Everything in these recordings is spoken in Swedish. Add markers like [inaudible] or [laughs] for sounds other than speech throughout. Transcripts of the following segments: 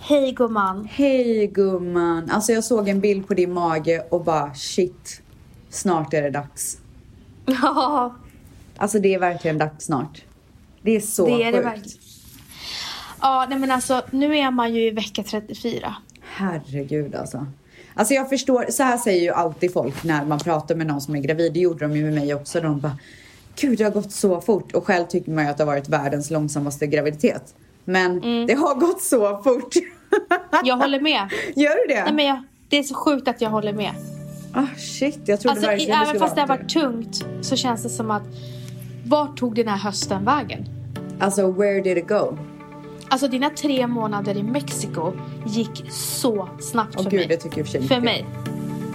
Hej gumman. Hej gumman. Alltså jag såg en bild på din mage och bara shit, snart är det dags. [laughs] Ja, Alltså det är verkligen dags snart. Det är så det är det sjukt. verkligen. Ja, nej men alltså nu är man ju i vecka 34. Herregud alltså. Alltså jag förstår, så här säger ju alltid folk när man pratar med någon som är gravid. Det gjorde de ju med mig också. De bara, gud det har gått så fort. Och själv tycker man ju att det har varit världens långsammaste graviditet. Men det har gått så fort. Mm. Jag [laughs] håller med. Gör du det? Nej men jag, det är så sjukt att jag håller med. Ah, shit, jag trodde Alltså i, verkligen det även skulle fast det vara har varit tungt så känns det som att vart tog den här hösten vägen? Alltså where did it go? Alltså dina tre månader i Mexiko gick så snabbt Åh för gud, mig. det tycker jag i och för sig för inte. mig.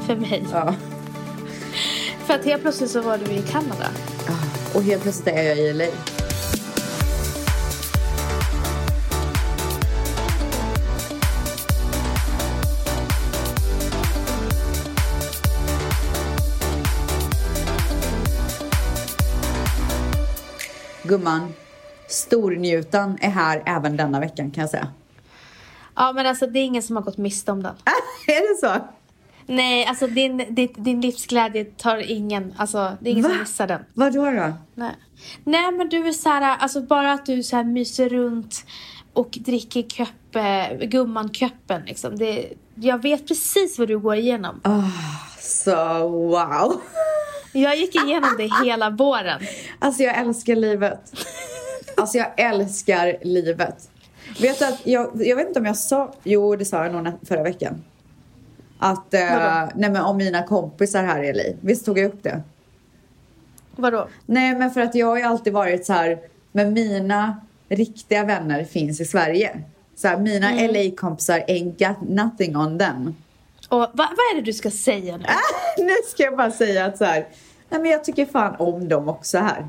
För mig. Ja. För att helt plötsligt så var du i Kanada. Ah, Och helt plötsligt är jag i LA. Gumman, stornjutan är här även denna veckan kan jag säga. [laughs] Ja men alltså det är ingen som har gått miste om den. är det så? Nej, alltså din, din, din livsglädje tar ingen, alltså det är ingen som Va? missar den. Vadå då? Nej. Nej men du är såhär, alltså bara att du så här myser runt och dricker köppe, gumman-köppen liksom. Det, jag vet precis vad du går igenom. Så Ah, wow! Jag gick igenom det hela våren. Alltså jag älskar livet. Alltså jag älskar livet. Vet du att jag, jag vet inte om jag sa, jo det sa jag nog nä- förra veckan. Att, eh, Vadå? nej men om mina kompisar här i LA. Visst tog jag upp det? Vadå? Nej men för att jag har ju alltid varit så här, men mina riktiga vänner finns i Sverige. Så här, mina LA-kompisar ain't got nothing on them. [laughs] Och va, vad är det du ska säga Ah, nu? nu ska jag bara säga att så här, nej men jag tycker fan om dem också här.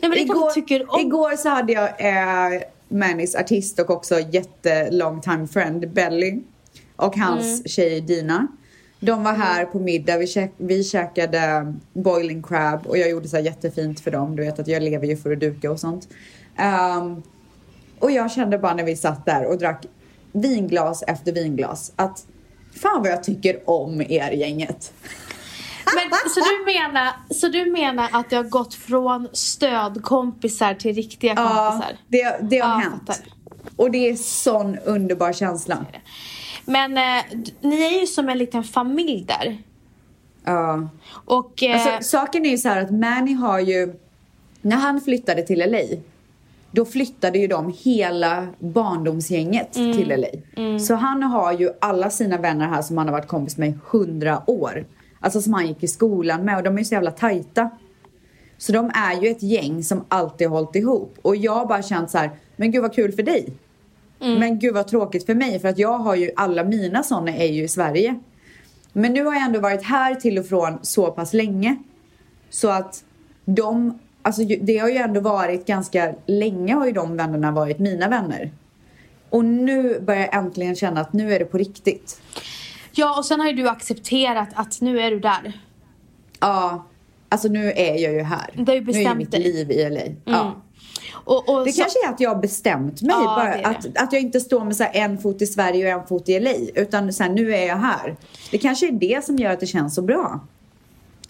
Nej men det igår, kanske tycker om. igår så hade jag eh, Mannys artist och också jättelong time friend Belly och hans Mm. tjej Dina. De var här på middag, vi, käk, vi käkade boiling crab och jag gjorde så här jättefint för dem. Du vet att jag lever ju för att duka och sånt. Ehm, och jag kände bara när vi satt där och drack vinglas efter vinglas att fan vad jag tycker om er gänget. Men, så, du menar, så du menar att det har gått från stödkompisar till riktiga kompisar? det, det har Ja, hänt. fattar. Och det är sån underbar känsla. Men eh, d- ni är ju som en liten familj där. Ja. Och eh, Alltså, saken är ju så här att Manny har ju... När han flyttade till LA, då flyttade ju de hela barndomsgänget till LA. Så han har ju alla sina vänner här som han har varit kompis med i hundra år. Alltså som han gick i skolan med och de är ju så jävla tajta. Så de är ju ett gäng som alltid har hållit ihop. Och jag har bara känt så här, men gud vad kul för dig. Men gud vad tråkigt för mig för att jag har ju alla mina sådana är ju i Sverige. Men nu har jag ändå varit här till och från så pass länge. Så att de, alltså ju- det har ju ändå varit ganska länge har ju de vännerna varit mina vänner. Och nu börjar jag äntligen känna att nu är det på riktigt. ja, och sen har ju du accepterat att nu är du där. Ja, alltså nu är jag ju här. Du har ju nu är bestämt ju mitt dig. liv i LA. Ja. Och, och Det så, kanske är att jag har bestämt mig. Ja, bara det är att, att jag inte står med så här en fot i Sverige och en fot i LA. Utan så här, nu är jag här. Det kanske är det som gör att det känns så bra.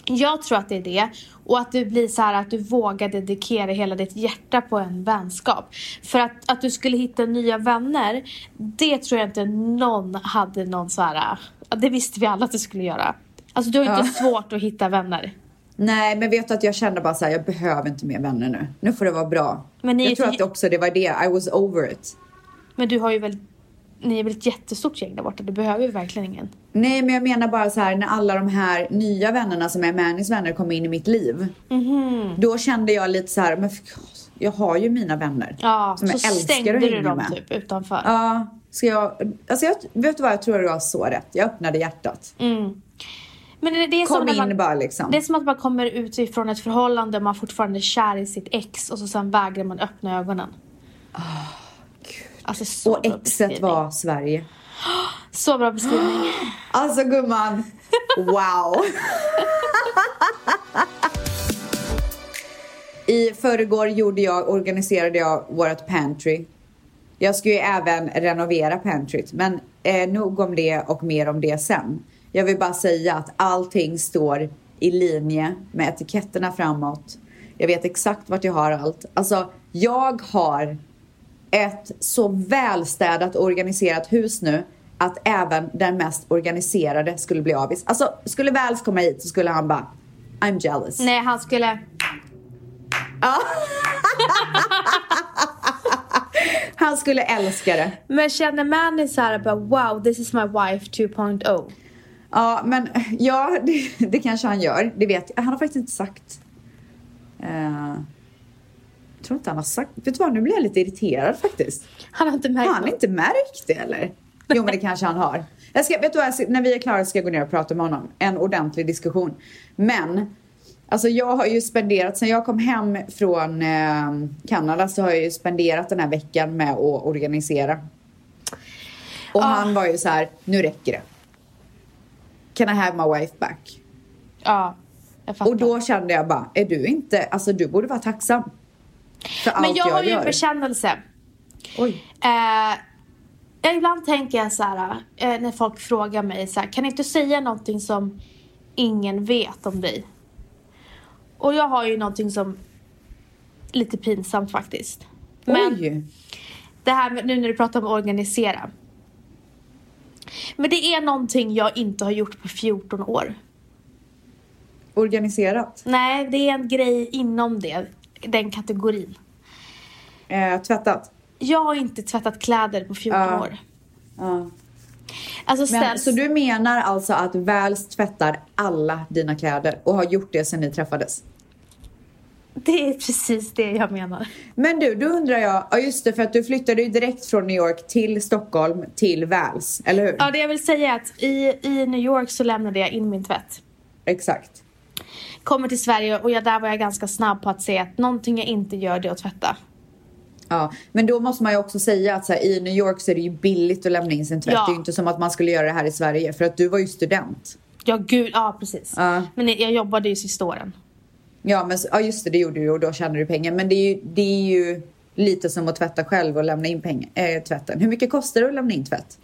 Jag tror att det är det. Och att du blir så här att du vågar dedikera hela ditt hjärta på en vänskap. För att, att du skulle hitta nya vänner, det tror jag inte någon hade någon så här... ja, Det visste vi alla att du skulle göra. Alltså du har ju inte svårt att hitta vänner. Nej, men vet du att jag kände bara så här, jag behöver inte mer vänner nu. Nu får det vara bra. Men ni är jag ju tror så- att det också det var det, I was over it. Men du har ju väl... Ni är väl ett jättestort gäng där borta? Du behöver ju verkligen ingen. Nej, men jag menar bara så här, när alla de här nya vännerna som är Mannys vänner kom in i mitt liv. Mhm. Då kände jag lite så här, men för- jag har ju mina vänner. Ja, som jag så älskar stängde att du hänga dem med. typ utanför. Ja, ska jag, alltså jag, vet du vad, jag tror du har så rätt. Jag öppnade hjärtat. Mm. Men det, det är som Kom när in man, bara liksom. Det är som att man kommer ut ifrån ett förhållande och man fortfarande är kär i sitt ex och så sen vägrar man öppna ögonen. alltså så Ah, Och bra exet beskrivning. var Sverige. Så bra [gasps] beskrivning. [laughs] Alltså gumman, wow! I förrgår gjorde jag, organiserade jag vårt pantry. Jag ska ju även renovera Pentryt. Men eh, nog om det och mer om det sen. Jag vill bara säga att allting står i linje med etiketterna framåt. Jag vet exakt vart jag har allt. Alltså, jag har ett så välstädat och organiserat hus nu att även den mest organiserade skulle bli avis. Alltså, skulle Väls komma hit så skulle han bara I'm jealous. Nej, han skulle... Han skulle älska det. Men känner Manny såhär bara wow, this is my wife oh. 2.0. Ja, men [laughs] ja, det, det kanske han gör. Det vet jag. Han har faktiskt inte sagt... Eh, jag tror inte han har sagt... Vet du vad, nu blir jag lite irriterad faktiskt. Han har inte märkt Har han något. inte märkt det eller? Jo, men det kanske han har. Jag ska, vet du vad, jag ska, när vi är klara ska jag gå ner och prata med honom. En ordentlig diskussion. Men, alltså jag har ju spenderat, sen jag kom hem från eh, Kanada så har jag ju spenderat den här veckan med att organisera. Och Ah. han var ju så här, nu räcker det. Can I have my wife back? Ja, jag fattar. Och då kände jag bara, är du inte, alltså du borde vara tacksam. För men allt jag, jag, har ju en gör. bekännelse. Oj. Eh, jag ibland tänker jag så här, eh, när folk frågar mig så här, kan inte du säga någonting som ingen vet om dig? Och jag har ju någonting som lite pinsamt faktiskt. Men Oj. det här med, nu när du pratar om att organisera. Men det är någonting jag inte har gjort på 14 år. Organiserat. Nej, det är en grej inom det, den kategorin. Eh, tvättat. Jag har inte tvättat kläder på 14 Ja. år. Ja. Alltså Men, ställs... så du menar alltså att Väls tvättar alla dina kläder och har gjort det sedan ni träffades? [laughs] Det är precis det jag menar. Men du, då undrar jag, ja just det för att du flyttade ju direkt från New York till Stockholm till Väls, eller hur? Ja, det jag vill säga är att i, i New York så lämnade jag in min tvätt. Exakt. Kommer till Sverige och jag, där var jag ganska snabb på att säga att någonting jag inte gör det är att tvätta. Ja, men då måste man ju också säga att så här, i New York så är det ju billigt att lämna in sin tvätt. Ja. Det är ju inte som att man skulle göra det här i Sverige för att du var ju student. Ja, gud, ja precis. Ja. Men jag jobbade ju sista åren. Ja, men s- ja, just det, det gjorde du och då tjänade du pengar. Men det är ju, det är ju lite som att tvätta själv och lämna in pengar, eh, tvätten. Hur mycket kostar det att lämna in tvätt?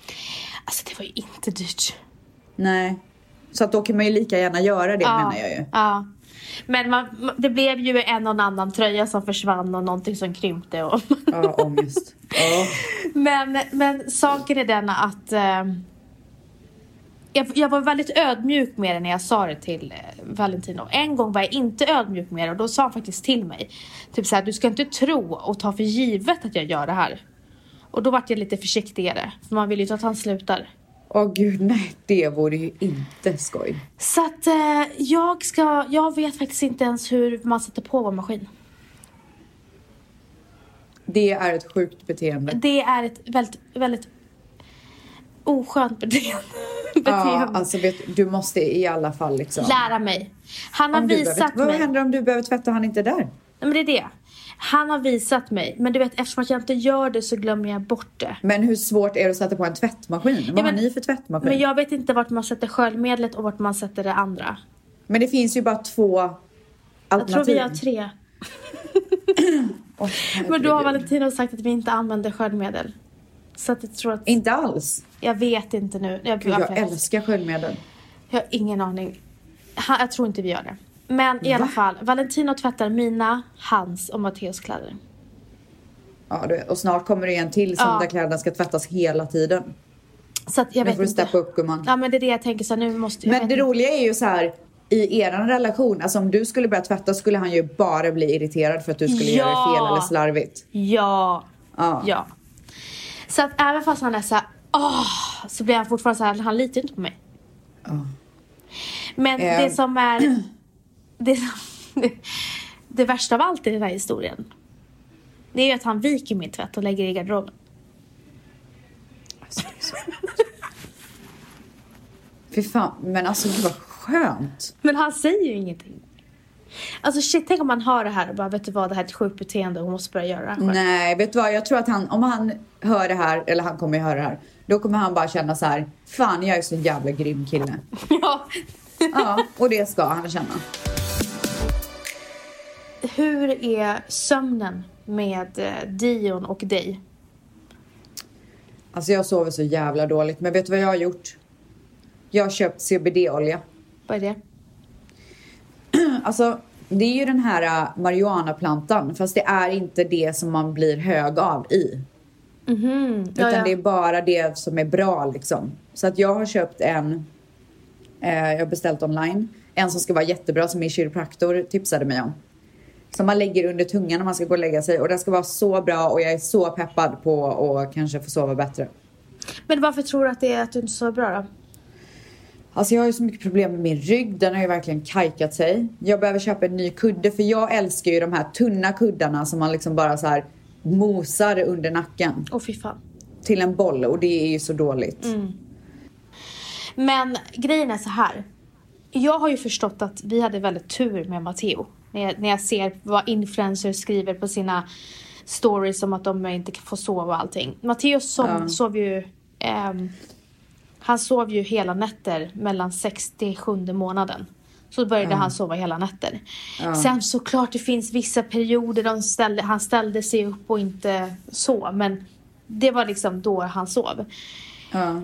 Alltså det var ju inte dyrt. Nej. Så att då kan man ju lika gärna göra det ja. menar jag ju. Ja. Men man, man- det blev ju en och en annan tröja som försvann och någonting som krympte. Och Ja, ångest. [laughs] Ja. men, men saken är den att eh, jag, jag var väldigt ödmjuk med det när jag sa det till eh, Valentino. En gång var jag inte ödmjuk med det och då sa han faktiskt till mig. Typ såhär, du ska inte tro och ta för givet att jag gör det här. Och då vart jag lite försiktigare. För man vill ju inte att han slutar. Åh gud, nej. Det vore ju inte skoj. Så att eh, jag ska, jag vet faktiskt inte ens hur man sätter på vår maskin. Det är ett sjukt beteende. Det är ett väldigt, väldigt oskönt beteende. Ja, beteende. alltså vet, du måste i alla fall liksom... Lära mig. Han har Om du visat behöver, vad mig. händer om du behöver tvätta och han inte är där? Nej, men det är det. Han har visat mig. Men du vet, eftersom att jag inte gör det så glömmer jag bort det. Men hur svårt är det att sätta på en tvättmaskin? Vad Ja, men- har ni för tvättmaskin? Men Men, jag vet inte vart man sätter sköljmedlet och vart man sätter det andra. det finns ju bara två Jag tror alternativ. vi har tre. Åh, Men då har herregud. Valentino sagt att vi inte använder sköljmedel. Så att jag tror att... Inte alls. Jag vet inte nu. Jag, Gud, jag jag- älskar sköljmedel. Jag har ingen aning. Han, jag tror inte vi gör det. Men i alla Va? fall, Valentino tvättar mina, hans och Matteos kläder. Ja, du vet. och snart kommer det en till som Ja. där kläderna ska tvättas hela tiden. Så att jag Nu vet får du inte. steppa upp gumman. Ja men det är det jag tänker så här, nu måste jag Men vet det inte. roliga är ju så här i eran relation, alltså om du skulle börja tvätta skulle han ju bara bli irriterad för att du skulle göra Ja. det fel eller slarvigt. Ja. Ja. Ja. Så att även fast han är så här, åh, så blir han fortfarande så här, han litar inte på mig. Ja. Men Eh. det som är, det som, det värsta av allt i den här historien. Det är ju att han viker min tvätt och lägger i garderoben. Alltså, det är så- Fy fan, men alltså gud vad skönt. Men han säger ju ingenting. Alltså shit, tänk om man hör det här och bara vet du vad, det här är ett sjukt beteende och hon måste börja göra det här själv. Nej, vet du vad? Jag tror att han, om han hör det här, eller han kommer ju höra det här, då kommer han bara känna så här, fan jag är så jävla grym [laughs] kille. Ja. Ja, och det ska han känna. Hur är sömnen med eh, Dion och dig? Alltså jag sover så jävla dåligt. Men vet du vad jag har gjort? Jag har köpt CBD-olja. Vad är det? Alltså, det är ju den här äh, marijuanaplantan. Fast det är inte det som man blir hög av i. Mhm. Utan Ja, ja. det är bara det som är bra liksom. Så att jag har köpt en, eh, jag har beställt online, en som ska vara jättebra som min kiropraktor tipsade mig om. Som man lägger under tungan när man ska gå och lägga sig och den ska vara så bra och jag är så peppad på att kanske få sova bättre. Men varför tror du att det är att du inte sover bra då? Alltså jag har ju så mycket problem med min rygg, den har ju verkligen kajkat sig. Jag behöver köpa en ny kudde för jag älskar ju de här tunna kuddarna som man liksom bara så här mosar under nacken Åh fy fan. till en boll och det är ju så dåligt. Men grejen är så här. Jag har ju förstått att vi hade väldigt tur med Matteo. När jag, när jag ser vad influencers skriver på sina stories om att de inte kan få sova och allting. Matteo som, Ja. sov ju... ehm, han sov ju hela nätter mellan 67 månaden. Så började han sova hela nätter. Sen såklart det finns vissa perioder de ställde, han ställde sig upp och inte så. Men det var liksom då han sov. Ja.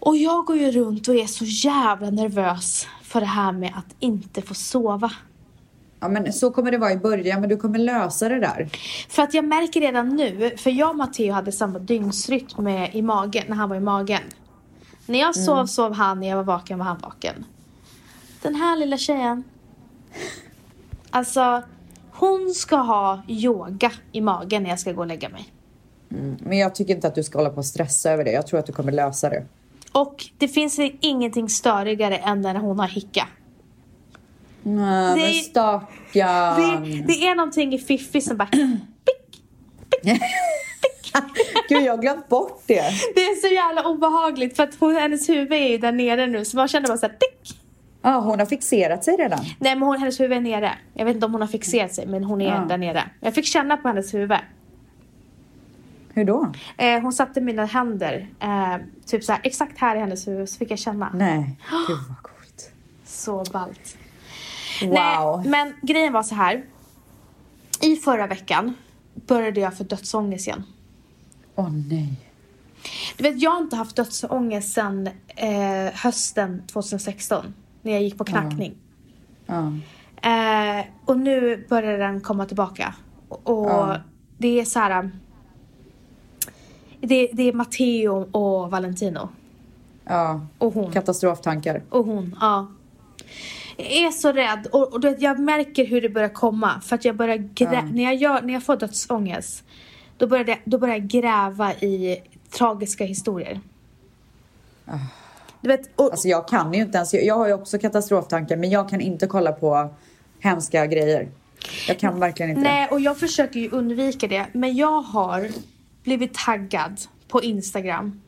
Och jag går ju runt och är så jävla nervös för det här med att inte få sova. Ja, men så kommer det vara i början, men du kommer lösa det där. För att jag märker redan nu, för jag och Matteo hade samma dygnsrytm med, i magen, när han var i magen. När jag sov sov han, när jag var vaken var han vaken. Den här lilla tjejen. Alltså, hon ska ha yoga i magen när jag ska gå och lägga mig. Men jag tycker inte att du ska hålla på och stressa över det. Jag tror att du kommer lösa det. Och det finns ingenting störigare än när hon har hicka. Nej, Det- men stackarn. Det, det är någonting i Fiffi som bara [laughs] Gud, jag har glömt bort det. Det är så jävla obehagligt för att hon, hennes huvud är ju där nere nu så man känner bara såhär tick. Ja, hon har fixerat sig redan. Nej men hon, hennes huvud är nere. Jag vet inte om hon har fixerat sig men hon är Ja. där nere. Jag fick känna på hennes huvud. Hur då? Eh, hon satte mina händer eh, typ såhär exakt här i hennes huvud så fick jag känna. Nej, gud vad coolt. Så ballt. Wow. Nej, men grejen var så här. I förra veckan började jag få dödsångest igen. Åh nej. Du vet jag har inte haft dödsångest sedan eh, hösten 2016 när jag gick på knackning. Ja. Eh, och nu börjar den komma tillbaka. Och Ja. det är så här... um, Det, det är Matteo och Valentino. ja. Och hon. Katastroftankar. Och hon, ja. Jag är så rädd och, och du vet, jag märker hur det börjar komma. För att jag börjar grä- Ja. när, jag gör, när jag får dödsångest, då börjar, det, då börjar jag gräva i tragiska historier. Du vet, och, Ah. Alltså jag kan ju inte ens, jag har ju också katastroftankar men jag kan inte kolla på hemska grejer. Jag kan verkligen inte Nej, och jag försöker ju undvika det. Men jag har blivit taggad på Instagram.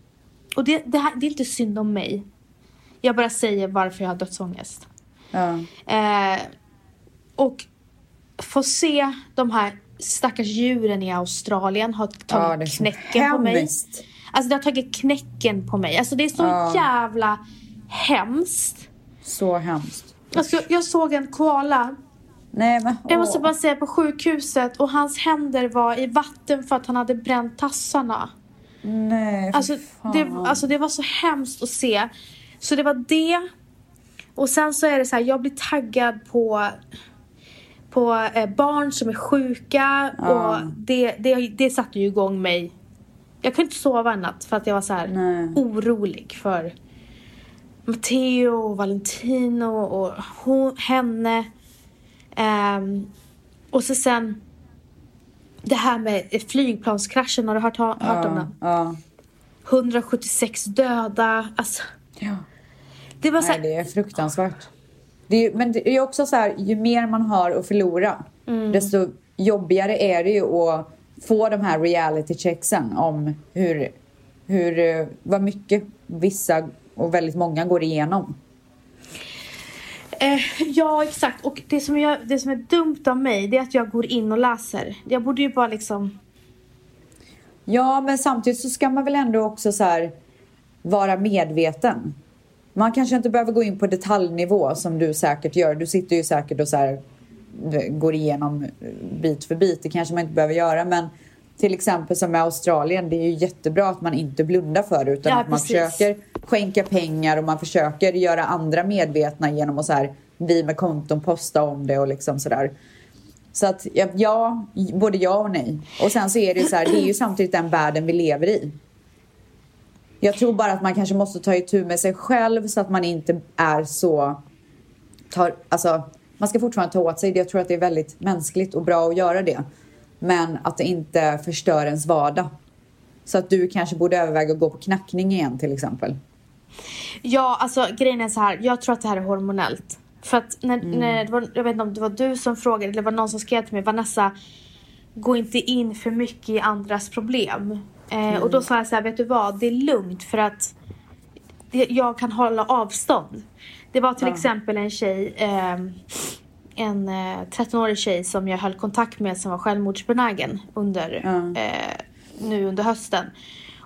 Och det, det, här, det är inte synd om mig. Jag bara säger varför jag har dödsångest. Ja. Eh, och få se de här stackars djuren i Australien har Ja, tagit det är så knäcken på mig. hemskt. Alltså det har tagit knäcken på mig. Alltså det är så Ja. jävla hemskt. Så hemskt. Alltså, jag- jag såg en koala Nej men jag måste åh. bara säga på sjukhuset och hans händer var i vatten för att han hade bränt tassarna. Nej, fy Alltså fan. det, alltså det var så hemskt att se. Så det var det. Och sen så är det så här, jag blir taggad på, på eh, barn som är sjuka Ja. och det, det, det satte ju igång mig. Jag kunde inte sova en natt för att jag var så här Nej. orolig för Matteo och Valentino och hon, henne. Ehm, och så sen det här med flygplanskraschen, har du hört, hört om den? Ja. 176 döda. Alltså, ja. det var så Nej, här, det är fruktansvärt. Det är, men det är också så här, ju mer man har att förlora Mm. desto jobbigare är det ju att få de här reality checksen om hur, hur, eh, vad mycket vissa och väldigt många går igenom. eh, ja exakt. Och det som, jag, det som är dumt av mig, det är att jag går in och läser. Jag borde ju bara liksom... Ja, men samtidigt så ska man väl ändå också så här vara medveten. Man kanske inte behöver gå in på detaljnivå som du säkert gör. Du sitter ju säkert och så här eh, går igenom eh, bit för bit. Det kanske man inte behöver göra, men till exempel som med Australien, det är ju jättebra att man inte blundar för det utan Ja, att man precis. försöker skänka pengar och man försöker göra andra medvetna genom att så här, vi med konton posta om det och liksom sådär. Så att ja, ja, både ja och nej. Och sen så är det ju så här, [clears throat] det är ju samtidigt den världen vi lever i. Jag tror bara att man kanske måste ta itu med sig själv så att man inte är så... Tar, alltså, man ska fortfarande ta åt sig det. Jag tror att det är väldigt mänskligt och bra att göra det. Men att det inte förstör ens vardag. Så att du kanske borde överväga att gå på knackning igen till exempel. Ja, alltså grejen är så här. Jag tror att det här är hormonellt. För att när, när det var, jag vet inte om det var du som frågade eller det var någon som skrev till mig. Vanessa, gå inte in för mycket i andras problem. Eh, Och då sa jag så här, vet du vad? Det är lugnt för att det- jag kan hålla avstånd. Det var till Ja. exempel en tjej, ehm, en eh, 13-årig tjej som jag höll kontakt med som var självmordsbenägen under, Ja. eh, nu under hösten.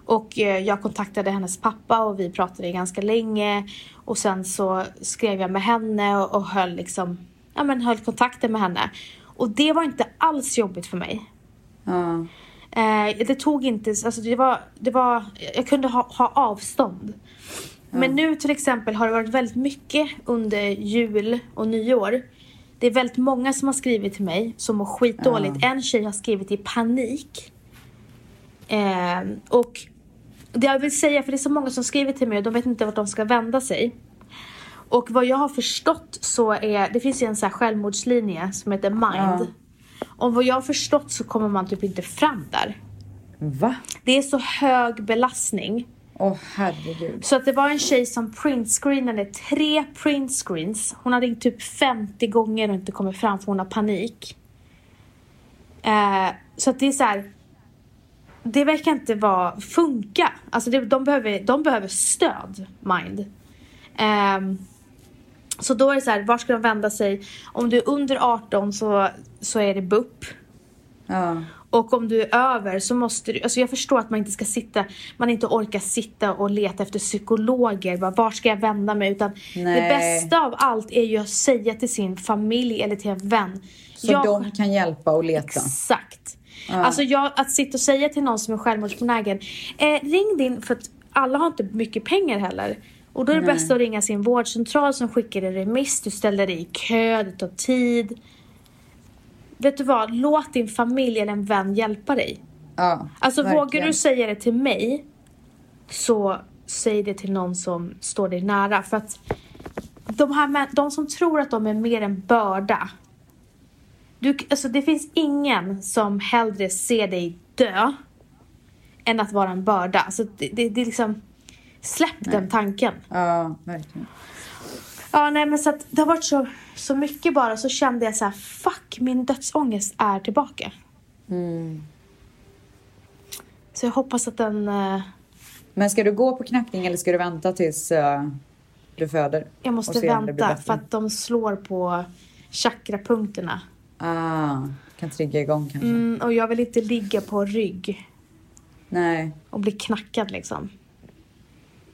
Och eh, jag kontaktade hennes pappa och vi pratade ganska länge. Och sen så skrev jag med henne och, och höll, liksom, ja, men höll kontakten med henne. Och det var inte alls jobbigt för mig. Ja. Eh, det tog inte, alltså det var, det var, jag kunde ha, ha avstånd. Men nu till exempel har det varit väldigt mycket under jul och nyår. Det är väldigt många som har skrivit till mig som mår skitdåligt. En tjej har skrivit i panik. Eh, och det jag vill säga, för det är så många som skriver till mig och de vet inte vart de ska vända sig. Och vad jag har förstått så är, det finns ju en så här självmordslinje som heter Mind. Om vad jag har förstått så kommer man typ inte fram där. Va? Det är så hög belastning. Åh herregud. Så att det var en tjej som printscreenade tre printscreens. Hon har ringt typ 50 gånger och inte kommit fram för hon har panik. Eh, så att det är så här. Det verkar inte vara, funka. Alltså det, de, behöver, de behöver stöd, mind. Ehm, så då är det så här, var ska de vända sig? Om du är under 18 så, så är det BUP. Ja. Och om du är över så måste du, alltså jag förstår att man inte ska sitta, man inte orkar sitta och leta efter psykologer, bara, var ska jag vända mig? Utan det Nej. bästa av allt är ju att säga till sin familj eller till en vän. Så jag, de kan hjälpa och leta. Exakt. Alltså jag, att sitta och säga till någon som är självmordsbenägen, eh, ring din, för att alla har inte mycket pengar heller. Och då är det Nej. bäst att ringa sin vårdcentral som skickar en remiss, du ställer dig i kö, det tar tid. Vet du vad, låt din familj eller en vän hjälpa dig. Ja, Alltså vågar verkligen. du säga det till mig så säg det till någon som står dig nära. För att de, här, män- de som tror att de är mer en börda. Du, alltså det finns ingen som hellre ser dig dö än att vara en börda. Alltså det, det, det är liksom, släpp den tanken. Ja, verkligen. Ja, nej, men så att det har varit så, så mycket bara. Så kände jag så här, fuck, min dödsångest är tillbaka. Mm. Så jag hoppas att den... eh, Men ska du gå på knackning eller ska du vänta tills eh, du föder? Jag Och måste se om det blir vänta bättre? för att de slår på chakrapunkterna. Ah, kan trigga igång kanske. Mm, och jag vill inte ligga på rygg Nej, och bli knackad liksom.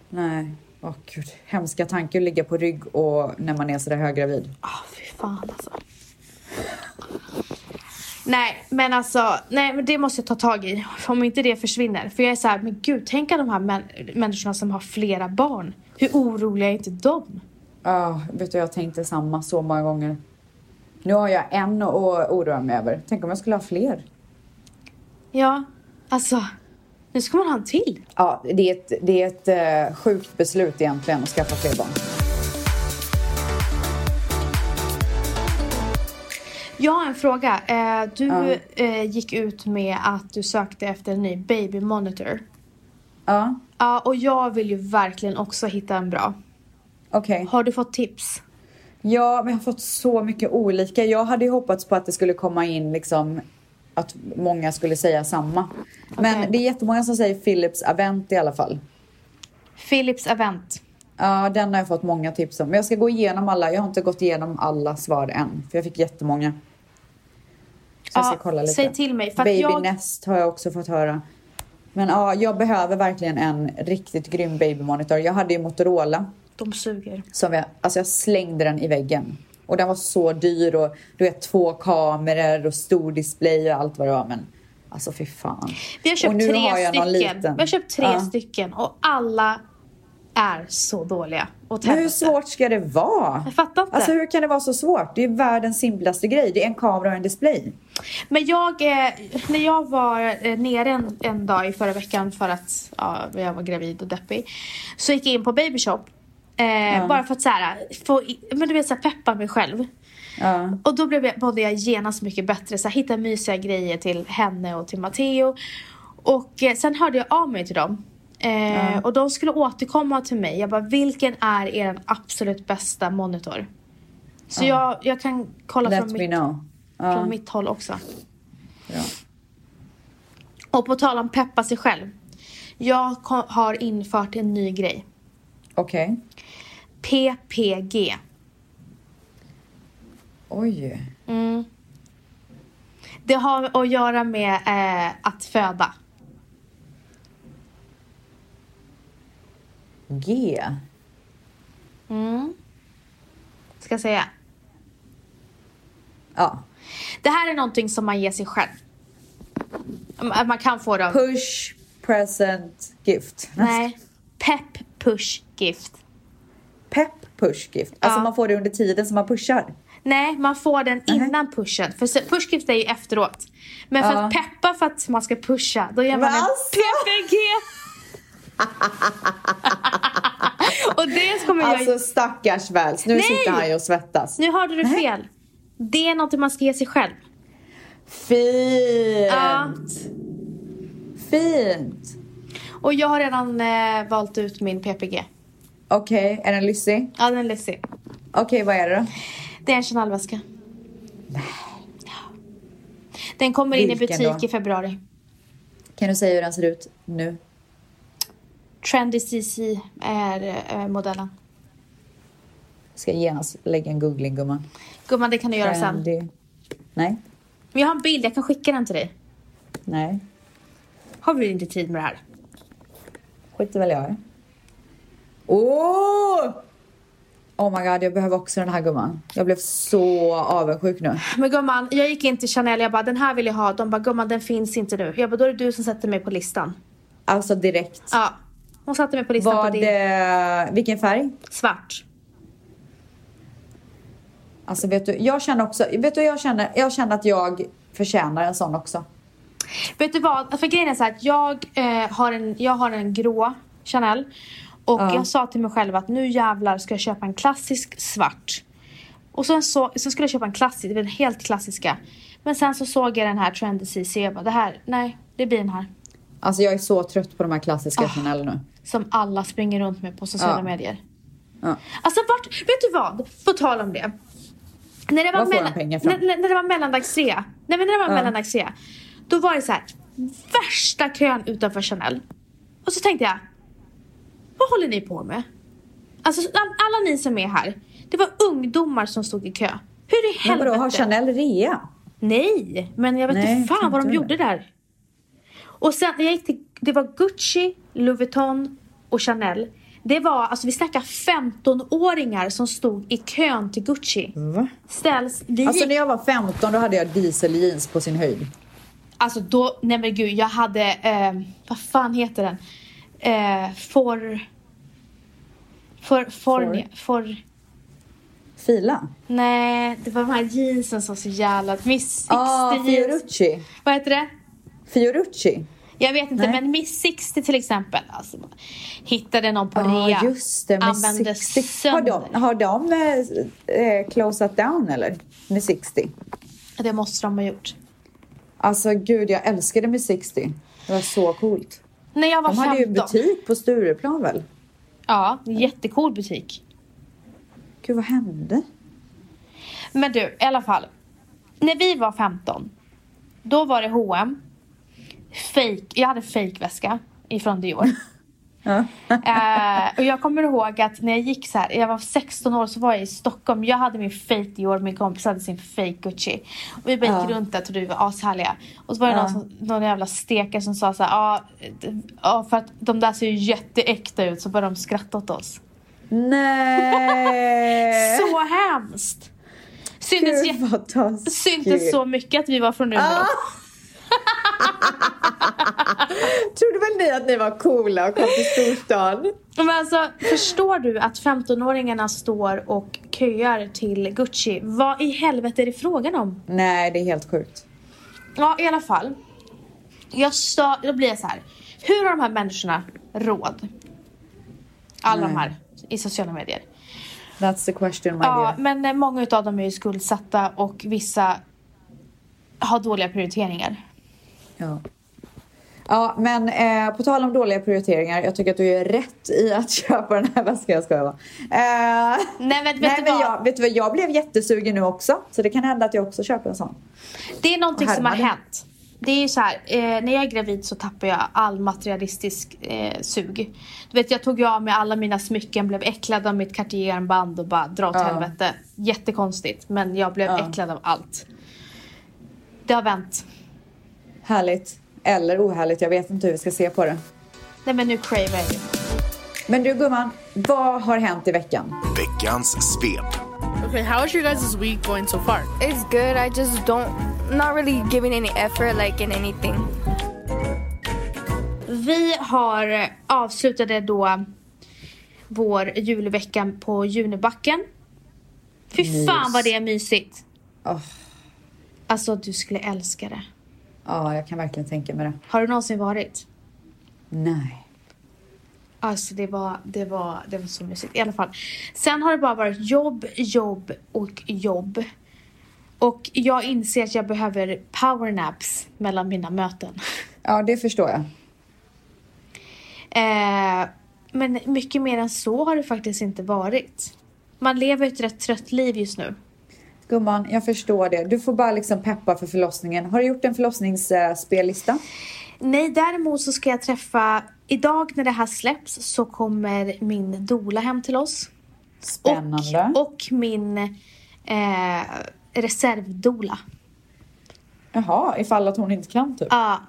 nej. Åh gud, hemska tanke att ligga på rygg och när man är sådär höggravid. Ah, fy fan alltså. Nej, men alltså, nej, men det måste jag ta tag i. Om inte det försvinner. För jag är så här, men gud, tänk alla de här män- människorna som har flera barn. Hur oroliga är inte de? Ah, vet du, jag tänkte samma så många gånger. Nu har jag en att oroa mig över. Tänk om jag skulle ha fler? Ja, alltså, nu ska man ha en till. Ja, det är ett, det är ett eh, sjukt beslut egentligen att skaffa fler barn. Jag har en fråga. Eh, Du eh, gick ut med att du sökte efter en ny baby monitor. Ja, Ja, och jag vill ju verkligen också hitta en bra. okej. Har du fått tips? Ja, men jag har fått så mycket olika. Jag hade ju hoppats på att det skulle komma in liksom att många skulle säga samma. Men Okej. det är jättemånga som säger Philips Avent i alla fall. Philips Avent. Ja, den har jag fått många tips om. Men jag ska gå igenom alla. Jag har inte gått igenom alla svar än, för jag fick jättemånga. Så jag ska Ja, kolla lite. Säg till mig. För att Baby jag... Nest har jag också fått höra. Men ja, jag behöver verkligen en riktigt grym babymonitor. Jag hade ju Motorola De suger. som jag, alltså jag slängde den i väggen. Och den var så dyr och du vet två kameror och stor display och allt vad det var. Men Alltså fy fan. Vi har Och köpt nu tre har jag någon stycken. liten. Vi har köpt tre Ja. stycken och alla är så dåliga. åt Men hur helvete. svårt ska det vara? Jag fattar inte. Alltså hur kan det vara så svårt? Det är världens simplaste grej. Det är en kamera och en display. Men jag, eh, när jag var eh, nere en, en dag i förra veckan för att ja, jag var gravid och deppig. Så gick jag in på babyshop. Eh, Bara för att så här, få, i- men du vet, så här, peppa mig själv. Ja. Och då blev jag, mådde jag genast mycket bättre. Så här, hitta mysiga grejer till henne och till Matteo. Och eh, sen hörde jag av mig till dem. Eh, Och de skulle återkomma till mig. Jag bara, vilken är er absolut bästa monitor? Så jag, jag kan kolla Let från me mitt, know. Ja. från mitt håll också. Ja. Och på tal om peppa sig själv. Jag ko- har infört en ny grej. Okej. PPG. Oj. Mm. Det har att göra med eh, att föda. G. Mm. Ska jag säga. Ja. Det här är någonting som man ger sig själv. Man man kan få det av... Push, present, gift. Nej. Pepp, push, gift. Pepp, push, gift. Alltså Ja. man får det under tiden som man pushar. Nej, man får den innan pushen. För se- pushgift är ju efteråt. Men för Ja. att peppa för att man ska pusha, då gör man Men en alltså! PPG. och det kommer jag... Alltså stackars Väls. Nu Nej! sitter han ju och svettas. Nu hörde du fel. Det är något man ska ge sig själv. Fint! Ja. Fint! Och jag har redan eh, valt ut min PPG. Okej, är den lyssig? Ja, den är lyxig. Okej, vad är det då? Det är en Chanel-väska. Ja. Den kommer in i Vilken butik då? i februari. Kan du säga hur den ser ut nu? Trendy CC är eh, modellen. Jag ska genast lägga en googling gumman. Gumman, det kan du göra sen. Trendy. Nej, Men jag har en bild, jag kan skicka den till dig. nej. Har vi inte tid med det här? Skiter väl jag i. Åh! Oh my god, jag behöver också den här gumman. Jag blev så avundsjuk nu. Men gumman, jag gick in till Chanel, jag bara den här vill jag ha. De bara gumman den finns inte nu. Jag bara då är det du som sätter mig på listan. Alltså direkt. Ja. Hon satte mig på listan Var på din det... Vilken färg? svart. Alltså vet du, jag känner också... Vet du, jag känner, jag känner att jag förtjänar en sån också. Vet du vad? För grejen är så här att jag, eh, har, en, jag har en grå Chanel. Och Ja. jag sa till mig själv att nu jävlar ska jag köpa en klassisk svart. Och sen så, så skulle jag köpa en klassisk, den helt klassiska. Men sen så såg jag den här Trendy CC och jag bara det här, nej det blir den här. Alltså jag är så trött på de här klassiska Ah. Chanel nu. Som alla springer runt med på sociala Ja. medier. Ja. Alltså vart, vet du vad? På tal om det. När det var, Var får de mellan- pengar ifrån? när, när, när det var mellandagsrea. Nej men när det var Ja. mellandagsrea. Då var det så här. Värsta kön utanför Chanel. Och så tänkte jag. Vad håller ni på med? Alltså all- alla ni som är här. Det var ungdomar som stod i kö. Hur i Men helvete? vadå, har Chanel rea? Nej, men jag vet Nej, inte fan tänkte vad de jag. gjorde där. Och sen när jag gick till, det var Gucci, Louis Vuitton och Chanel. Det var, alltså vi snackar 15-åringar som stod i kön till Gucci. Va? Ställs, vi Alltså gick, när jag var 15 då hade jag dieseljeans på sin höjd. alltså då, nej men gud, jag hade, eh, vad fan heter den? Eh, for, for, for, For? for, Fila. nej, det var de här jeansen som var så jävla, Miss 60 Ah, jeans. Fiorucci. Vad heter det? Fiorucci. Jag vet inte, Nej. men Miss 60 till exempel. Alltså, hittade någon på Ja, rea. Ah, just det. Med använde 60. Har sönder. de, har de eh, eh, closat down eller? Med 60? Det måste de ha gjort. Alltså gud, jag älskade med 60. Det var så coolt. När jag var De hade ju 15. butik på Stureplan väl? Ja, jättecool butik. Gud, vad hände? Men du, i alla fall. När vi var 15, då var det H&M. Fake. Jag hade fake väska ifrån Dior. Ja. Eh, och jag kommer ihåg att när jag gick så här, jag var 16 år så var jag i Stockholm. Jag hade min fake Dior, min kompis hade sin fake Gucci. Och vi bara gick Ja. runt där och trodde vi var ashärliga. Och så var det Ja. någon, som, någon jävla stekare som sa så här, ja d- ja, för att de där ser ju jätteäkta ut. Så började de skratta åt oss. [laughs] Nej! Så hemskt! Syntes, Eh. Gud, jätte- vad Ah. taskigt. syntes så mycket att vi var från Umeå. Ah! Trodde väl ni att ni var coola och kom till storstan? Men alltså, förstår du att 15-åringarna står och köar till Gucci? Vad i helvete är det frågan om? Nej, det är helt sjukt. Ja, i alla fall. Jag stör, då blir jag så här. Hur har de här människorna råd? Alla de Nej. här i sociala medier. That's the question my Ja, dear. men eh, många av dem är ju skuldsatta och vissa har dåliga prioriteringar. Ja. Ja, men eh, på tal om dåliga prioriteringar. Jag tycker att du gör rätt i att [laughs] köpa den här väskan. Jag skojar bara. Eh, Nej, men, vet Nej, du men vad? jag, vet du vad? Jag blev jättesugen nu också. Så det kan hända att jag också köper en sån. Det är någonting Och som har härmade. hänt. Det är ju så här, eh, när jag är gravid så tappar jag all materialistisk eh, sug. Du vet, jag tog ju av mig alla mina smycken, blev äcklad av mitt Cartier-armband och bara dra åt Ja. helvete. Jättekonstigt, men jag blev Ja. äcklad av allt. Det har vänt. Härligt. Eller ohärligt. Jag vet inte hur vi ska se på det. Nej men nu cravar jag ju. Men du gumman, vad har hänt i veckan? Veckans svep. Okay, how is your guys' week going so far? It's good. I just don't, not really giving any effort like in anything. Vi har eh, avslutade då vår julvecka på Junibacken. Fy fan vad det är mysigt. Åh. Alltså du skulle älska det. Ja, jag kan verkligen tänka mig det. Har du någonsin varit? Nej. Alltså det var, det var, det var så mysigt. I alla fall. Sen har det bara varit jobb, jobb och jobb. Och jag inser att jag behöver powernaps mellan mina möten. [laughs] Ja, det förstår jag. Eh, men mycket mer än så har det faktiskt inte varit. Man lever ett rätt trött liv just nu. Gumman, jag förstår det. Du får bara liksom peppa för förlossningen. Har du gjort en förlossningsspellista? Nej, däremot så ska jag träffa... Idag när det här släpps så kommer min doula hem till oss. Spännande. Och, och min eh, reservdoula. Jaha, ifall att hon inte kan typ. Ja.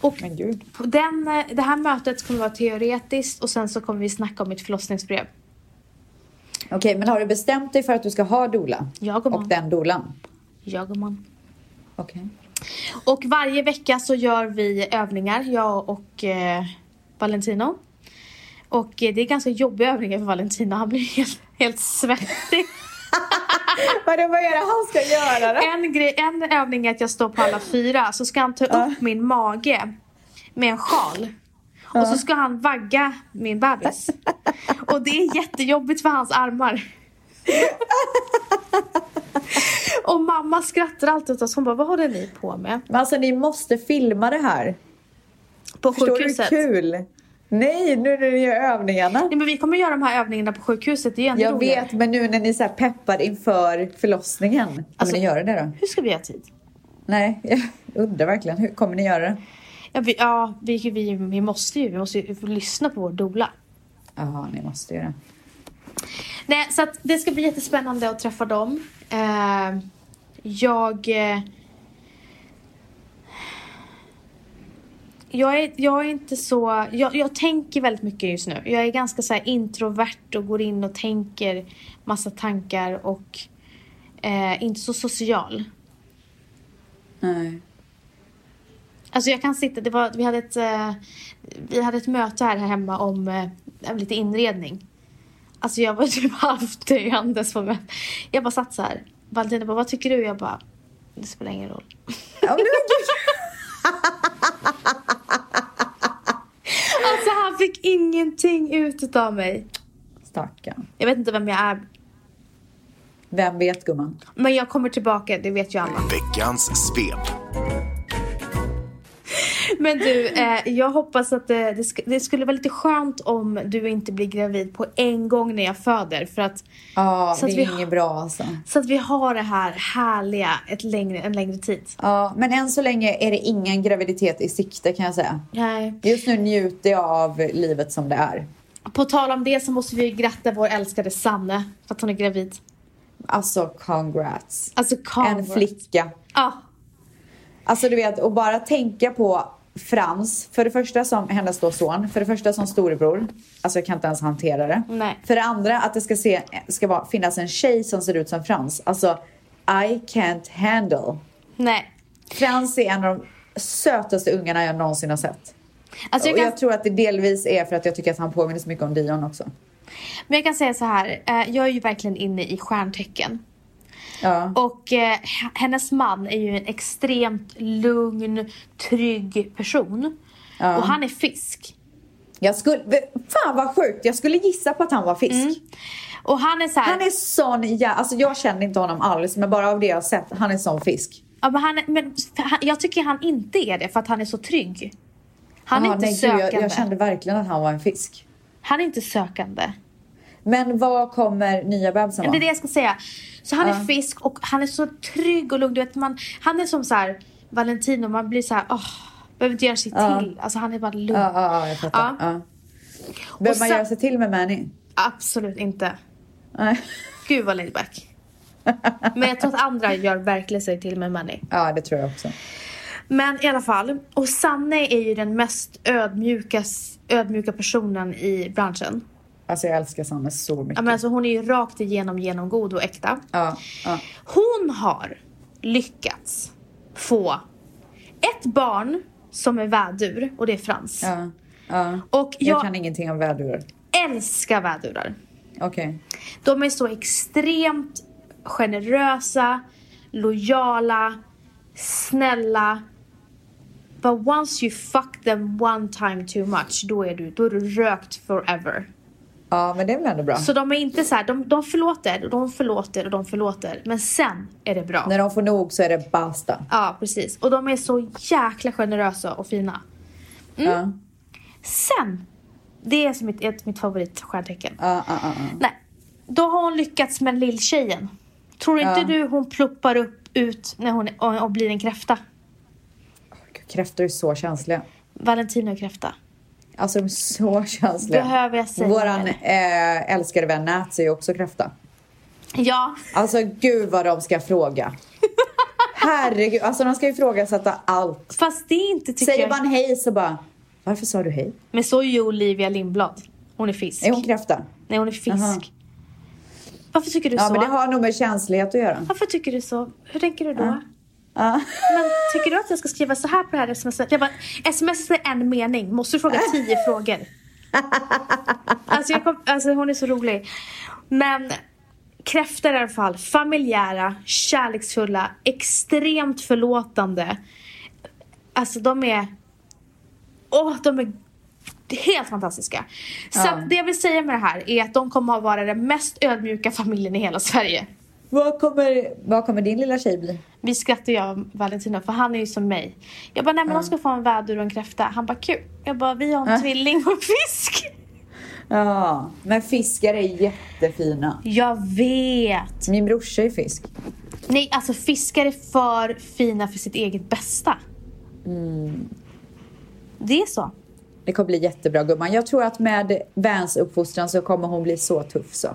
Och Men gud. på den, eh, det här mötet kommer vara teoretiskt och sen så kommer vi snacka om mitt förlossningsbrev. Okej, men har du bestämt dig för att du ska ha doula? Ja, gumman. Och den doulan? Jag och man. Okej. Och varje vecka så gör vi övningar, jag och eh, Valentino. Och eh, det är ganska jobbiga övningar för Valentino, han blir helt, helt svettig. Vadå, vad är det han ska göra då? En, grej, en övning är att jag står på alla fyra, så ska han ta upp min mage med en sjal. Och så ska han vagga min bebis. Och det är jättejobbigt för hans armar. Och mamma skrattar alltid åt oss. Hon bara, vad håller ni på med? Men alltså ni måste filma det här. På Förstår du hur sjukhuset. kul? Nej, nu när ni gör övningarna. Nej, men vi kommer göra de här övningarna på sjukhuset. Det är ju ännu Jag roligare. vet, men nu när ni så här peppar inför förlossningen. Alltså- kommer ni göra det då? Hur ska vi ha tid? Nej, [laughs] jag undrar verkligen. Hur kommer ni göra det? Ja, vi, ja, vi, vi, vi måste ju. Vi måste ju lyssna på vår doula. Jaha, ni måste göra det. Nej, så att det ska bli jättespännande att träffa dem. Eh, jag... Eh, jag, är, jag är inte så... Jag, jag tänker väldigt mycket just nu. Jag är ganska så här introvert och går in och tänker massa tankar och eh, inte så social. Nej. Alltså jag kan sitta, det var, vi, hade ett, eh, vi hade ett möte här hemma om eh, lite inredning. Alltså jag var [laughs] typ halvdöendes på mötet. Jag bara satt så här. Valentina bara, vad tycker du? Jag bara, det spelar ingen roll. Ja, men, Alltså han fick ingenting ut av mig. Stackarn. Jag vet inte vem jag är. Vem vet gumman? Men jag kommer tillbaka, det vet ju alla. Veckans svep. Men du, eh, jag hoppas att eh, det, sk- det skulle vara lite skönt om du inte blir gravid på en gång när jag föder. För att Ja, Så det att är vi- inget bra alltså. Så att vi har det här härliga ett längre, en längre tid. Ja, men än så länge är det ingen graviditet i sikte kan jag säga. Nej. Just nu njuter jag av livet som det är. På tal om det så måste vi ju gratta vår älskade Sanne för att hon är gravid. Alltså congrats. Alltså Carl. En flicka. Ja. Alltså du vet, och bara tänka på Frans, för det första som hennes då son, för det första som storebror. Alltså jag kan inte ens hantera det. Nej. För det andra att det ska, se, ska vara, finnas en tjej som ser ut som Frans. Alltså, I can't handle. Nej. Frans är en av de sötaste ungarna jag någonsin har sett. Alltså jag Och kan, jag tror att det delvis är för att jag tycker att han påminner så mycket om Dion också. Men jag kan säga så här, eh, jag är ju verkligen inne i stjärntecken. Ja. Och eh, h- hennes man är ju en extremt lugn, trygg person. Ja. Och han är fisk. Jag skulle... Fan vad sjukt! Jag skulle gissa på att han var fisk. Mm. Och han är så här, Han är sån jä... Alltså jag känner inte honom alls, men bara av det jag har sett, han är sån fisk. ja, men han är men för han, jag tycker han inte är det för att han är så trygg. Han är Jaha, inte nej, gud, sökande. jag, jag kände verkligen att han var en fisk. Han är inte sökande. Men vad kommer nya bebisen Men det vara? är det jag ska säga. Så han är Ja. fisk och han är så trygg och lugn. Du vet, man, han är som så här Valentino, man blir så här, åh, behöver inte göra sig Ja. till. Alltså han är bara lugn. Ja, ja, ja, jag fattar. Ja. Ja. Behöver sen- man göra sig till med Manny? Absolut inte. Nej. [laughs] Gud vad laidback. Men jag tror att andra gör verkligen sig till med Manny. Ja, det tror jag också. Men i alla fall. Och Sanne är ju den mest ödmjuka, ödmjuka personen i branschen. Alltså jag älskar Sanne så Ja, mycket. men alltså, hon är ju rakt igenom genomgod och äkta. Ja, ja. Hon har lyckats få ett barn som är vädur och det är Frans. ja, ja. Och Jag jag, kan ingenting om vädurar. älskar vädurar. Okej. De är så extremt generösa, lojala, snälla. But once you fuck them one time too much, då är du, då är du rökt forever. Ja, men det är väl ändå bra. Så de är inte så här, de, de förlåter, och de förlåter och de förlåter. Men sen är det bra. När de får nog så är det basta. Ja, precis. Och de är så jäkla generösa och fina. Mm. Ja, Sen, det är som mitt, ett, mitt favoritstjärntecken. ja, ja, ja, ja. Nej, då har hon lyckats med lilltjejen. Tror inte Ja. du hon pluppar upp ut när hon och, och blir en kräfta? Gud, Kräftor är så känsliga. Valentino är kräfta. Alltså de är så känsliga. Behöver jag säga Våran det? eh, älskade vän Nancy är också kräfta. Ja, Alltså gud vad de ska fråga. Herregud, alltså de ska ifrågasätta allt. fast det är inte tycker Säger jag. man hej så bara, varför sa du hej? Men så är ju Olivia Lindblad. Hon är fisk. Är hon kräfta? Nej, hon är fisk. Jaha. Varför tycker du Ja, så? men det har nog med känslighet att göra. Varför tycker du så? Hur tänker du då? Ja. Men tycker du att jag ska skriva så här på det här smset? Jag bara, sms är en mening. Måste du fråga tio frågor? Alltså, jag kom, alltså hon är så rolig. Men kräftor i alla fall. Familjära, kärleksfulla, extremt förlåtande. Alltså de är... Åh, de är helt fantastiska. Så Ja. att det jag vill säga med det här är att de kommer att vara den mest ödmjuka familjen i hela Sverige. Vad, kommer, vad kommer din lilla tjej bli? Vi skrattade jag och Valentino för han är ju som mig. Jag bara, nej men de ska få en vädur och en kräfta. Han bara, kul. Jag bara, vi har en tvilling och en fisk. Ja, men fiskar är jättefina. [laughs] Jag vet. Min brorsa är fisk. Nej, alltså fiskar är för fina för sitt eget bästa. Mm. Det är så. Det kommer bli jättebra gumman. Jag tror att med Vans uppfostran så kommer hon bli så tuff så.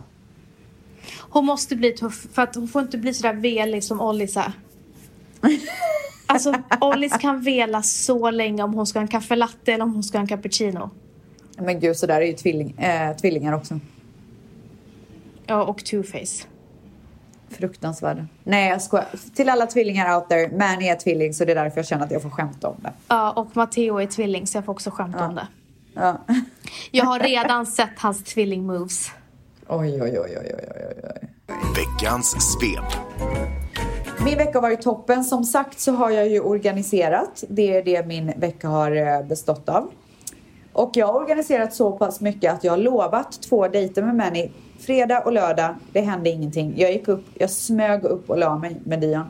Hon måste bli tuff för att hon får inte bli sådär velig som Ollis [laughs] är. Alltså Ollis kan vela så länge om hon ska ha en kaffelatte eller om hon ska ha en cappuccino. Men gud, så där är ju tvilling, eh, tvillingar också. Ja, och two-face. Fruktansvärda. Nej, jag skojar. Till alla tvillingar out there, Manny är tvilling så det är därför jag känner att jag får skämta om det. Ja, och Matteo är tvilling så jag får också skämta om det. Ja. Jag har redan sett hans tvilling-moves. Oj, oj, oj, oj, oj, oj, oj. Veckans svep. Min vecka har varit toppen. Som sagt så har jag ju organiserat. Det är det min vecka har eh, bestått av. Och jag har organiserat så pass mycket att jag har lovat två dejter med Manny. Fredag och lördag, det hände ingenting. Jag gick upp, jag smög upp och la mig med Dion.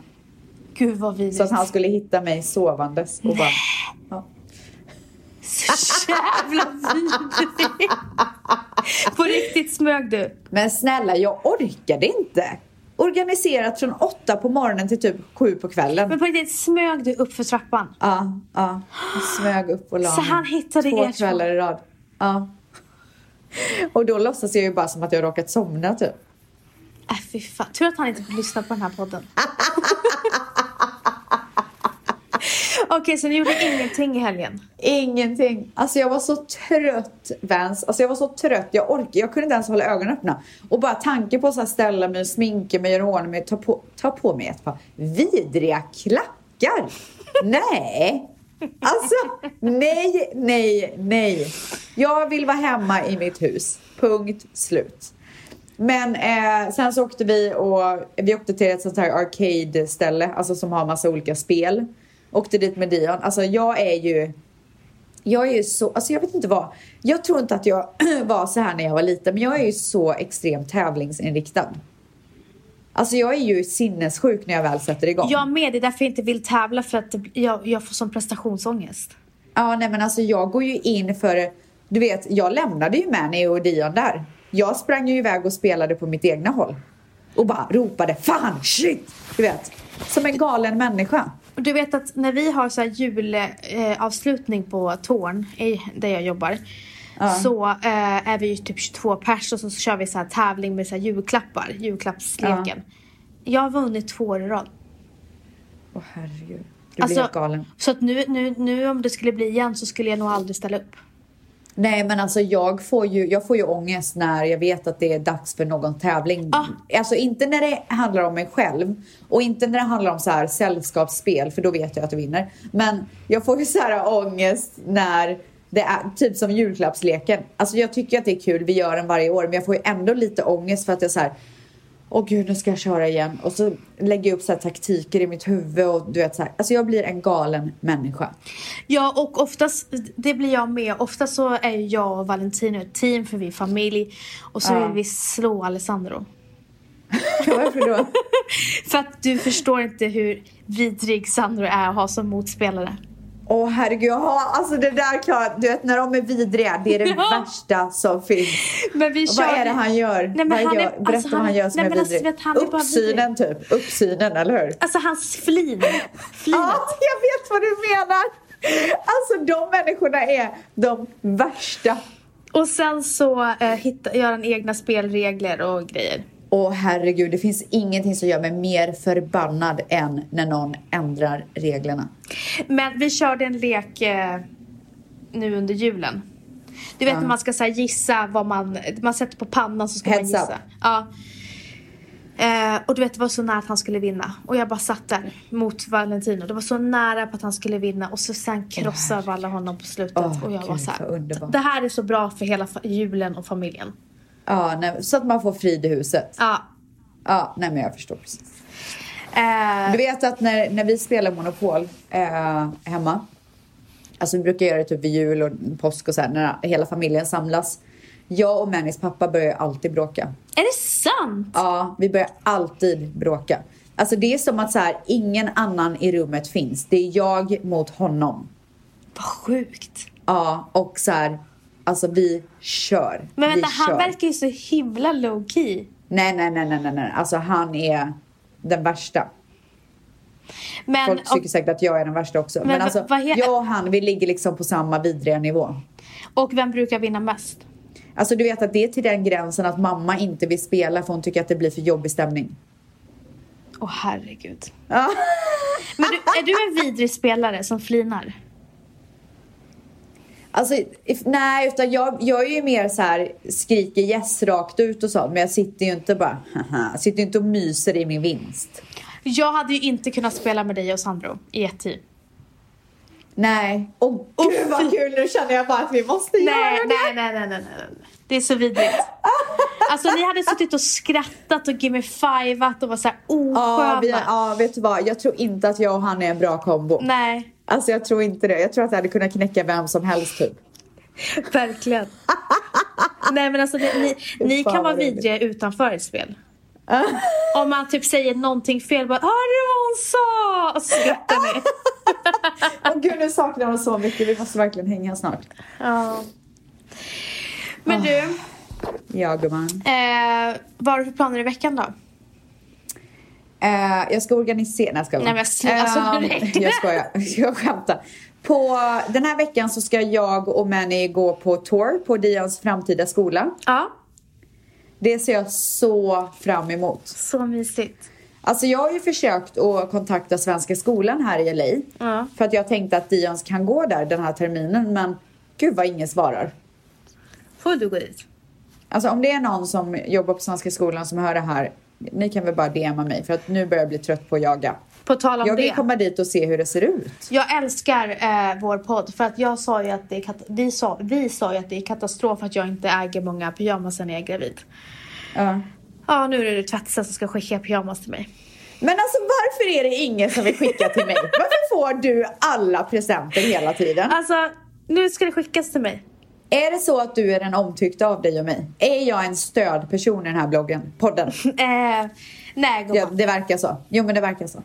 Gud vad vidrigt. Så att han skulle hitta mig sovandes och bara... Ja. [laughs] Så jävla vidrigt. På riktigt smög du. Men snälla, jag orkade inte. Organiserat från åtta på morgonen till typ sju på kvällen. Men på riktigt smög du upp för trappan. Ja, ja. Jag smög upp och la Så mig. han hittade Två er två? kvällar i rad. Ja. Och då låtsas jag ju bara som att jag råkat somna typ. Äh, fy fan. Tur att han inte lyssnar på den här podden. [laughs] Okej, så ni gjorde ingenting i helgen? Ingenting. Alltså jag var så trött Vans. Alltså jag var så trött. Jag orkade, jag kunde inte ens hålla ögonen öppna. Och bara tanken på att så här ställa mig, sminka mig, göra i ordning mig, ta på, ta på mig ett par vidriga klackar. Nej! Alltså, nej, nej, nej. Jag vill vara hemma i mitt hus. Punkt slut. Men eh, sen så åkte vi och vi åkte till ett sånt här arcade-ställe, alltså som har massa olika spel. Åkte dit med Dion. Alltså jag är ju jag är ju så, alltså jag vet inte vad. Jag tror inte att jag [clears throat] var så här när jag var liten, men jag är ju så extremt tävlingsinriktad. Alltså jag är ju sinnessjuk när jag väl sätter igång. Jag med, det är därför jag inte vill tävla för att det- jag, jag får sån prestationsångest. Ja, nej men alltså jag går ju in för, du vet, jag lämnade ju Mani och Dion där. Jag sprang ju iväg och spelade på mitt egna håll. Och bara ropade, fan, shit! Du vet, som en galen människa. Och Du vet att när vi har så här julavslutning eh, avslutning på Torn, i, där jag jobbar, så eh, är vi ju typ 22 pers och så kör vi så här tävling med så här julklappar, julklappsleken. Jag har vunnit två år i rad. Åh herregud, du blir Alltså, helt galen. Så att nu, nu, nu om det skulle bli igen så skulle jag nog aldrig ställa upp. Nej men alltså jag får, ju, jag får ju ångest när jag vet att det är dags för någon tävling. Ah. Alltså inte när det handlar om mig själv och inte när det handlar om så här sällskapsspel för då vet jag att jag vinner. Men jag får ju så här ångest när det är typ som julklappsleken. Alltså jag tycker att det är kul, vi gör den varje år men jag får ju ändå lite ångest för att jag så här Åh gud, nu ska jag köra igen. Och så lägger jag upp så här taktiker i mitt huvud och du vet så här. Alltså jag blir en galen människa. Ja, och oftast, det blir jag med. Oftast så är ju jag och Valentino ett team för vi är familj. Och så vill vi slå Alessandro. Varför då? För att du förstår inte hur vidrig Sandro är att ha som motspelare. Åh herregud, jaha, alltså det där klarar Du vet när de är vidriga, det är det [laughs] Ja. värsta som finns. Men vi Och Vad är det han gör? men vad han är- gör? alltså, Berätta vad han- han gör som nej, är men alltså, vidrig. vet, han är bara Uppsynen typ, uppsynen eller hur? Alltså hans flin. Flinet. Ja, jag vet vad du menar! Alltså de människorna är de värsta. Och sen så eh, hitta, gör han egna spelregler och grejer. Åh herregud, det finns ingenting som gör mig mer förbannad än när någon ändrar reglerna. Men vi körde en lek eh, nu under julen. Du vet när man ska så här, gissa vad man... Man sätter på pannan så ska Heads man up. gissa. Ja. Eh, och du vet det var så nära att han skulle vinna. Och jag bara satt där mot Valentino. Det var så nära på att han skulle vinna. Och så sen krossade alla honom på slutet. Åh, och jag var gud, så vad här, underbart. Det här är så bra för hela fa- julen och familjen. Ja, nej, så att man får frid i huset. Ja. Ja, nej men jag förstår precis. Eh, Du vet att när, när vi spelar Monopol eh, hemma. Alltså vi brukar göra det typ vid jul och påsk och så här, när hela familjen samlas. Jag och Mannys pappa börjar alltid bråka. är det sant? Ja, vi börjar alltid bråka. Alltså det är som att så här, ingen annan i rummet finns. Det är jag mot honom. Vad sjukt. Ja, och så här, alltså vi kör. Men vänta, vi han kör. verkar ju så himla low key. Nej, nej, nej, nej, nej, nej. Alltså han är den värsta. Men Folk om- tycker säkert att jag är den värsta också. Men, Men alltså, vad he- jag och han, vi ligger liksom på samma vidriga nivå. Och vem brukar vinna mest? Alltså du vet att det är till den gränsen att mamma inte vill spela för hon tycker att det blir för jobbig stämning. Åh herregud. [laughs] Men du, är du en vidrig spelare som flinar? Alltså, if, nej, utan jag, jag är ju mer så här skriker yes rakt ut och sånt. Men jag sitter ju inte bara, haha, jag sitter ju inte och myser i min vinst. Jag hade ju inte kunnat spela med dig och Sandro i ett team. Nej. Åh gud vad kul, nu känner jag bara att vi måste Nej, göra det. nej, nej, nej, nej, nej. Det är så vidrigt. Alltså ni hade suttit och skrattat och gimme fiveat och var såhär Ja, osköna. vi, ja, vet du vad? Jag tror inte att jag och han är en bra kombo. Nej, Alltså jag tror inte det. Jag tror att jag hade kunnat knäcka vem som [laughs] helst typ. verkligen. nej men alltså ni, ni, ni fan, kan vara vad roligt. vidriga utanför ett spel. Om man typ säger någonting fel bara Hörru hon sa! Och så skrattar ni. Åh gud, nu saknar honom så mycket. Vi måste verkligen hänga snart. Ja. Men du, Ja, gumman. eh, vad har du för planer i veckan då? Eh, jag ska organisera... Nej, jag skojar. Nej, men sl- alltså, Ehm, nu räcker det. [laughs] Jag skojar. Jag skämtar. På, den här veckan så ska jag och Manny gå på tour på Dions framtida skola. Ja, Det ser jag så fram emot. så mysigt. Alltså jag har ju försökt att kontakta Svenska skolan här i LA. Ja. För att jag tänkte att Dions kan gå där den här terminen. Men gud vad ingen svarar. Får du gå dit? Alltså om det är någon som jobbar på Svenska skolan som hör det här. Ni kan väl bara DMa mig för att nu börjar jag bli trött på att jaga. På tal om Jag vill det. komma dit och se hur det ser ut. Jag älskar eh, vår podd för att jag sa ju att det är kat- vi, sa, vi sa ju att det är katastrof att jag inte äger många pyjamasar när jag är gravid. Ja. Ja, nu är det tvättisen som ska skicka pyjamas till mig. Men alltså varför är det ingen som vill skicka [laughs] till mig? Varför får du alla presenter hela tiden? Alltså, nu ska det skickas till mig. Är det så att du är den omtyckta av dig och mig? Är jag en stödperson i den här bloggen? Podden? [laughs] Eh, nej, gumman. Ja, det verkar så. Jo men det verkar så.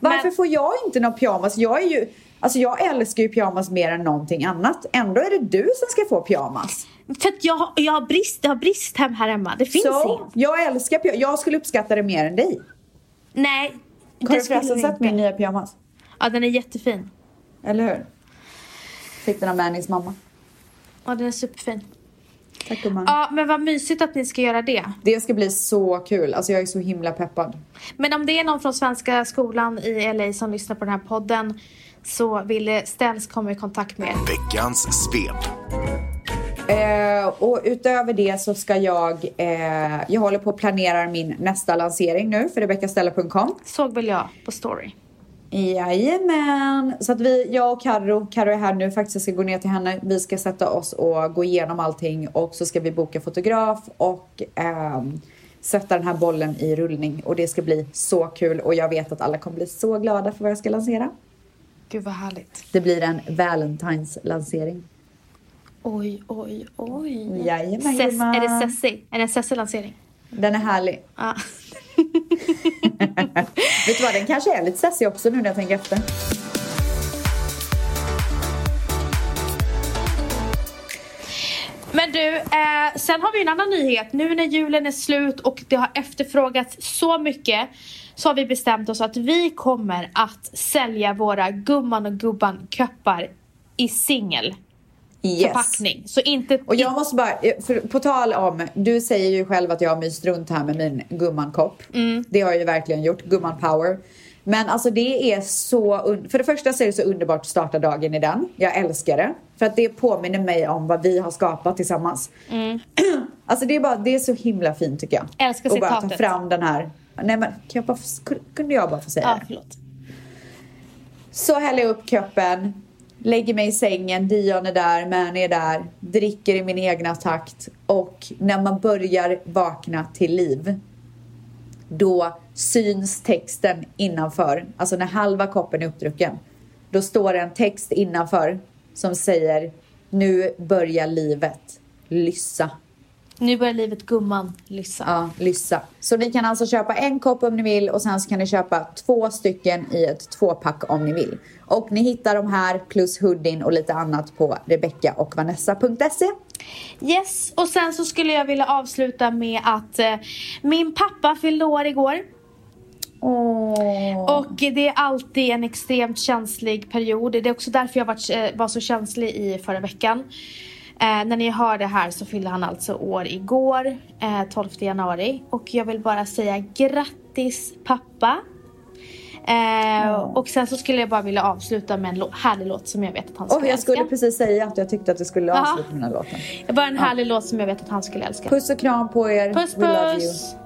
Varför Men- får jag inte någon pyjamas? Jag är ju... Alltså jag älskar ju pyjamas mer än någonting annat. Ändå är det du som ska få pyjamas. För att jag, har- jag, har brist, jag har brist hem här hemma. Det finns Så, inget. jag älskar pyjamas. Jag skulle uppskatta det mer än dig. Nej, det Har du förresten skulle sett du min inte. nya pyjamas? Ja, den är jättefin. Eller hur? Fick den av Mannys mamma. Ja, den är superfin. Tack gumman. Ja, men vad mysigt att ni ska göra det. Det ska bli så kul. Alltså jag är så himla peppad. Men om det är någon från Svenska skolan i LA som lyssnar på den här podden så vill Stens komma i kontakt med er. Veckans svep. Eh, och utöver det så ska jag... Eh, jag håller på och planerar min nästa lansering nu för RebeccaStella.com. Såg väl jag på story. Jajamän! Så att vi, jag och Karo, Karo är här nu faktiskt, jag ska gå ner till henne. Vi ska sätta oss och gå igenom allting och så ska vi boka fotograf och ehm, sätta den här bollen i rullning. Och det ska bli så kul och jag vet att alla kommer bli så glada för vad jag ska lansera. Gud vad härligt. Det blir en Valentines-lansering. Oj, oj, oj. Jajamän Ses, gumman. är det Sessi? Är det en Sessi-lansering? Den är härlig. Ja. [laughs] Vet du vad, den kanske är lite sessig också nu när jag tänker efter. Men du, eh, sen har vi en annan nyhet. Nu när julen är slut och det har efterfrågats så mycket så har vi bestämt oss att vi kommer att sälja våra Gumman och Gubban-köppar i singelförpackning. Yes. Så inte... Och jag måste bara, eh, för, på tal om, du säger ju själv att jag har myst runt här med min gummankopp. Mm. Det har jag ju verkligen gjort, gumman power. Men alltså det är så, un- för det första så är det så underbart att starta dagen i den. Jag älskar det. För att det påminner mig om vad vi har skapat tillsammans. [clears throat] alltså det är bara, det är så himla fint tycker jag. Mm. Älskar Och bara ta citatet. fram den här. Nej men, kan jag bara, få- kunde jag bara få säga Ja, det? förlåt. Så häller jag upp koppen, lägger mig i sängen, Dion är där, Mani är där, dricker i min egna takt och när man börjar vakna till liv då syns texten innanför. Alltså när halva koppen är uppdrucken. Då står det en text innanför som säger Nu börjar livet. Lyssa. Nu börjar livet Gumman, lyssna. Ja, lyssa. Så ni kan alltså köpa en kopp om ni vill och sen så kan ni köpa två stycken i ett tvåpack om ni vill. Och ni hittar de här plus hoodien och lite annat på rebeckaochvanessa.se. Yes, och sen så skulle jag vilja avsluta med att eh, min pappa fyllde år igår. Och det är alltid en extremt känslig period. Det är också därför jag varit, eh, var så känslig i förra veckan. Eh, när ni hör det här så fyllde han alltså år igår, eh, 12 januari. Och jag vill bara säga grattis pappa. Eh, Och sen så skulle jag bara vilja avsluta med en lå- härlig låt som jag vet att han skulle Och jag skulle älska. precis säga att jag tyckte att du skulle Ja. avsluta den här låten. Bara en härlig låt som jag vet att han skulle älska. Puss och kram på er. Puss We love you. puss!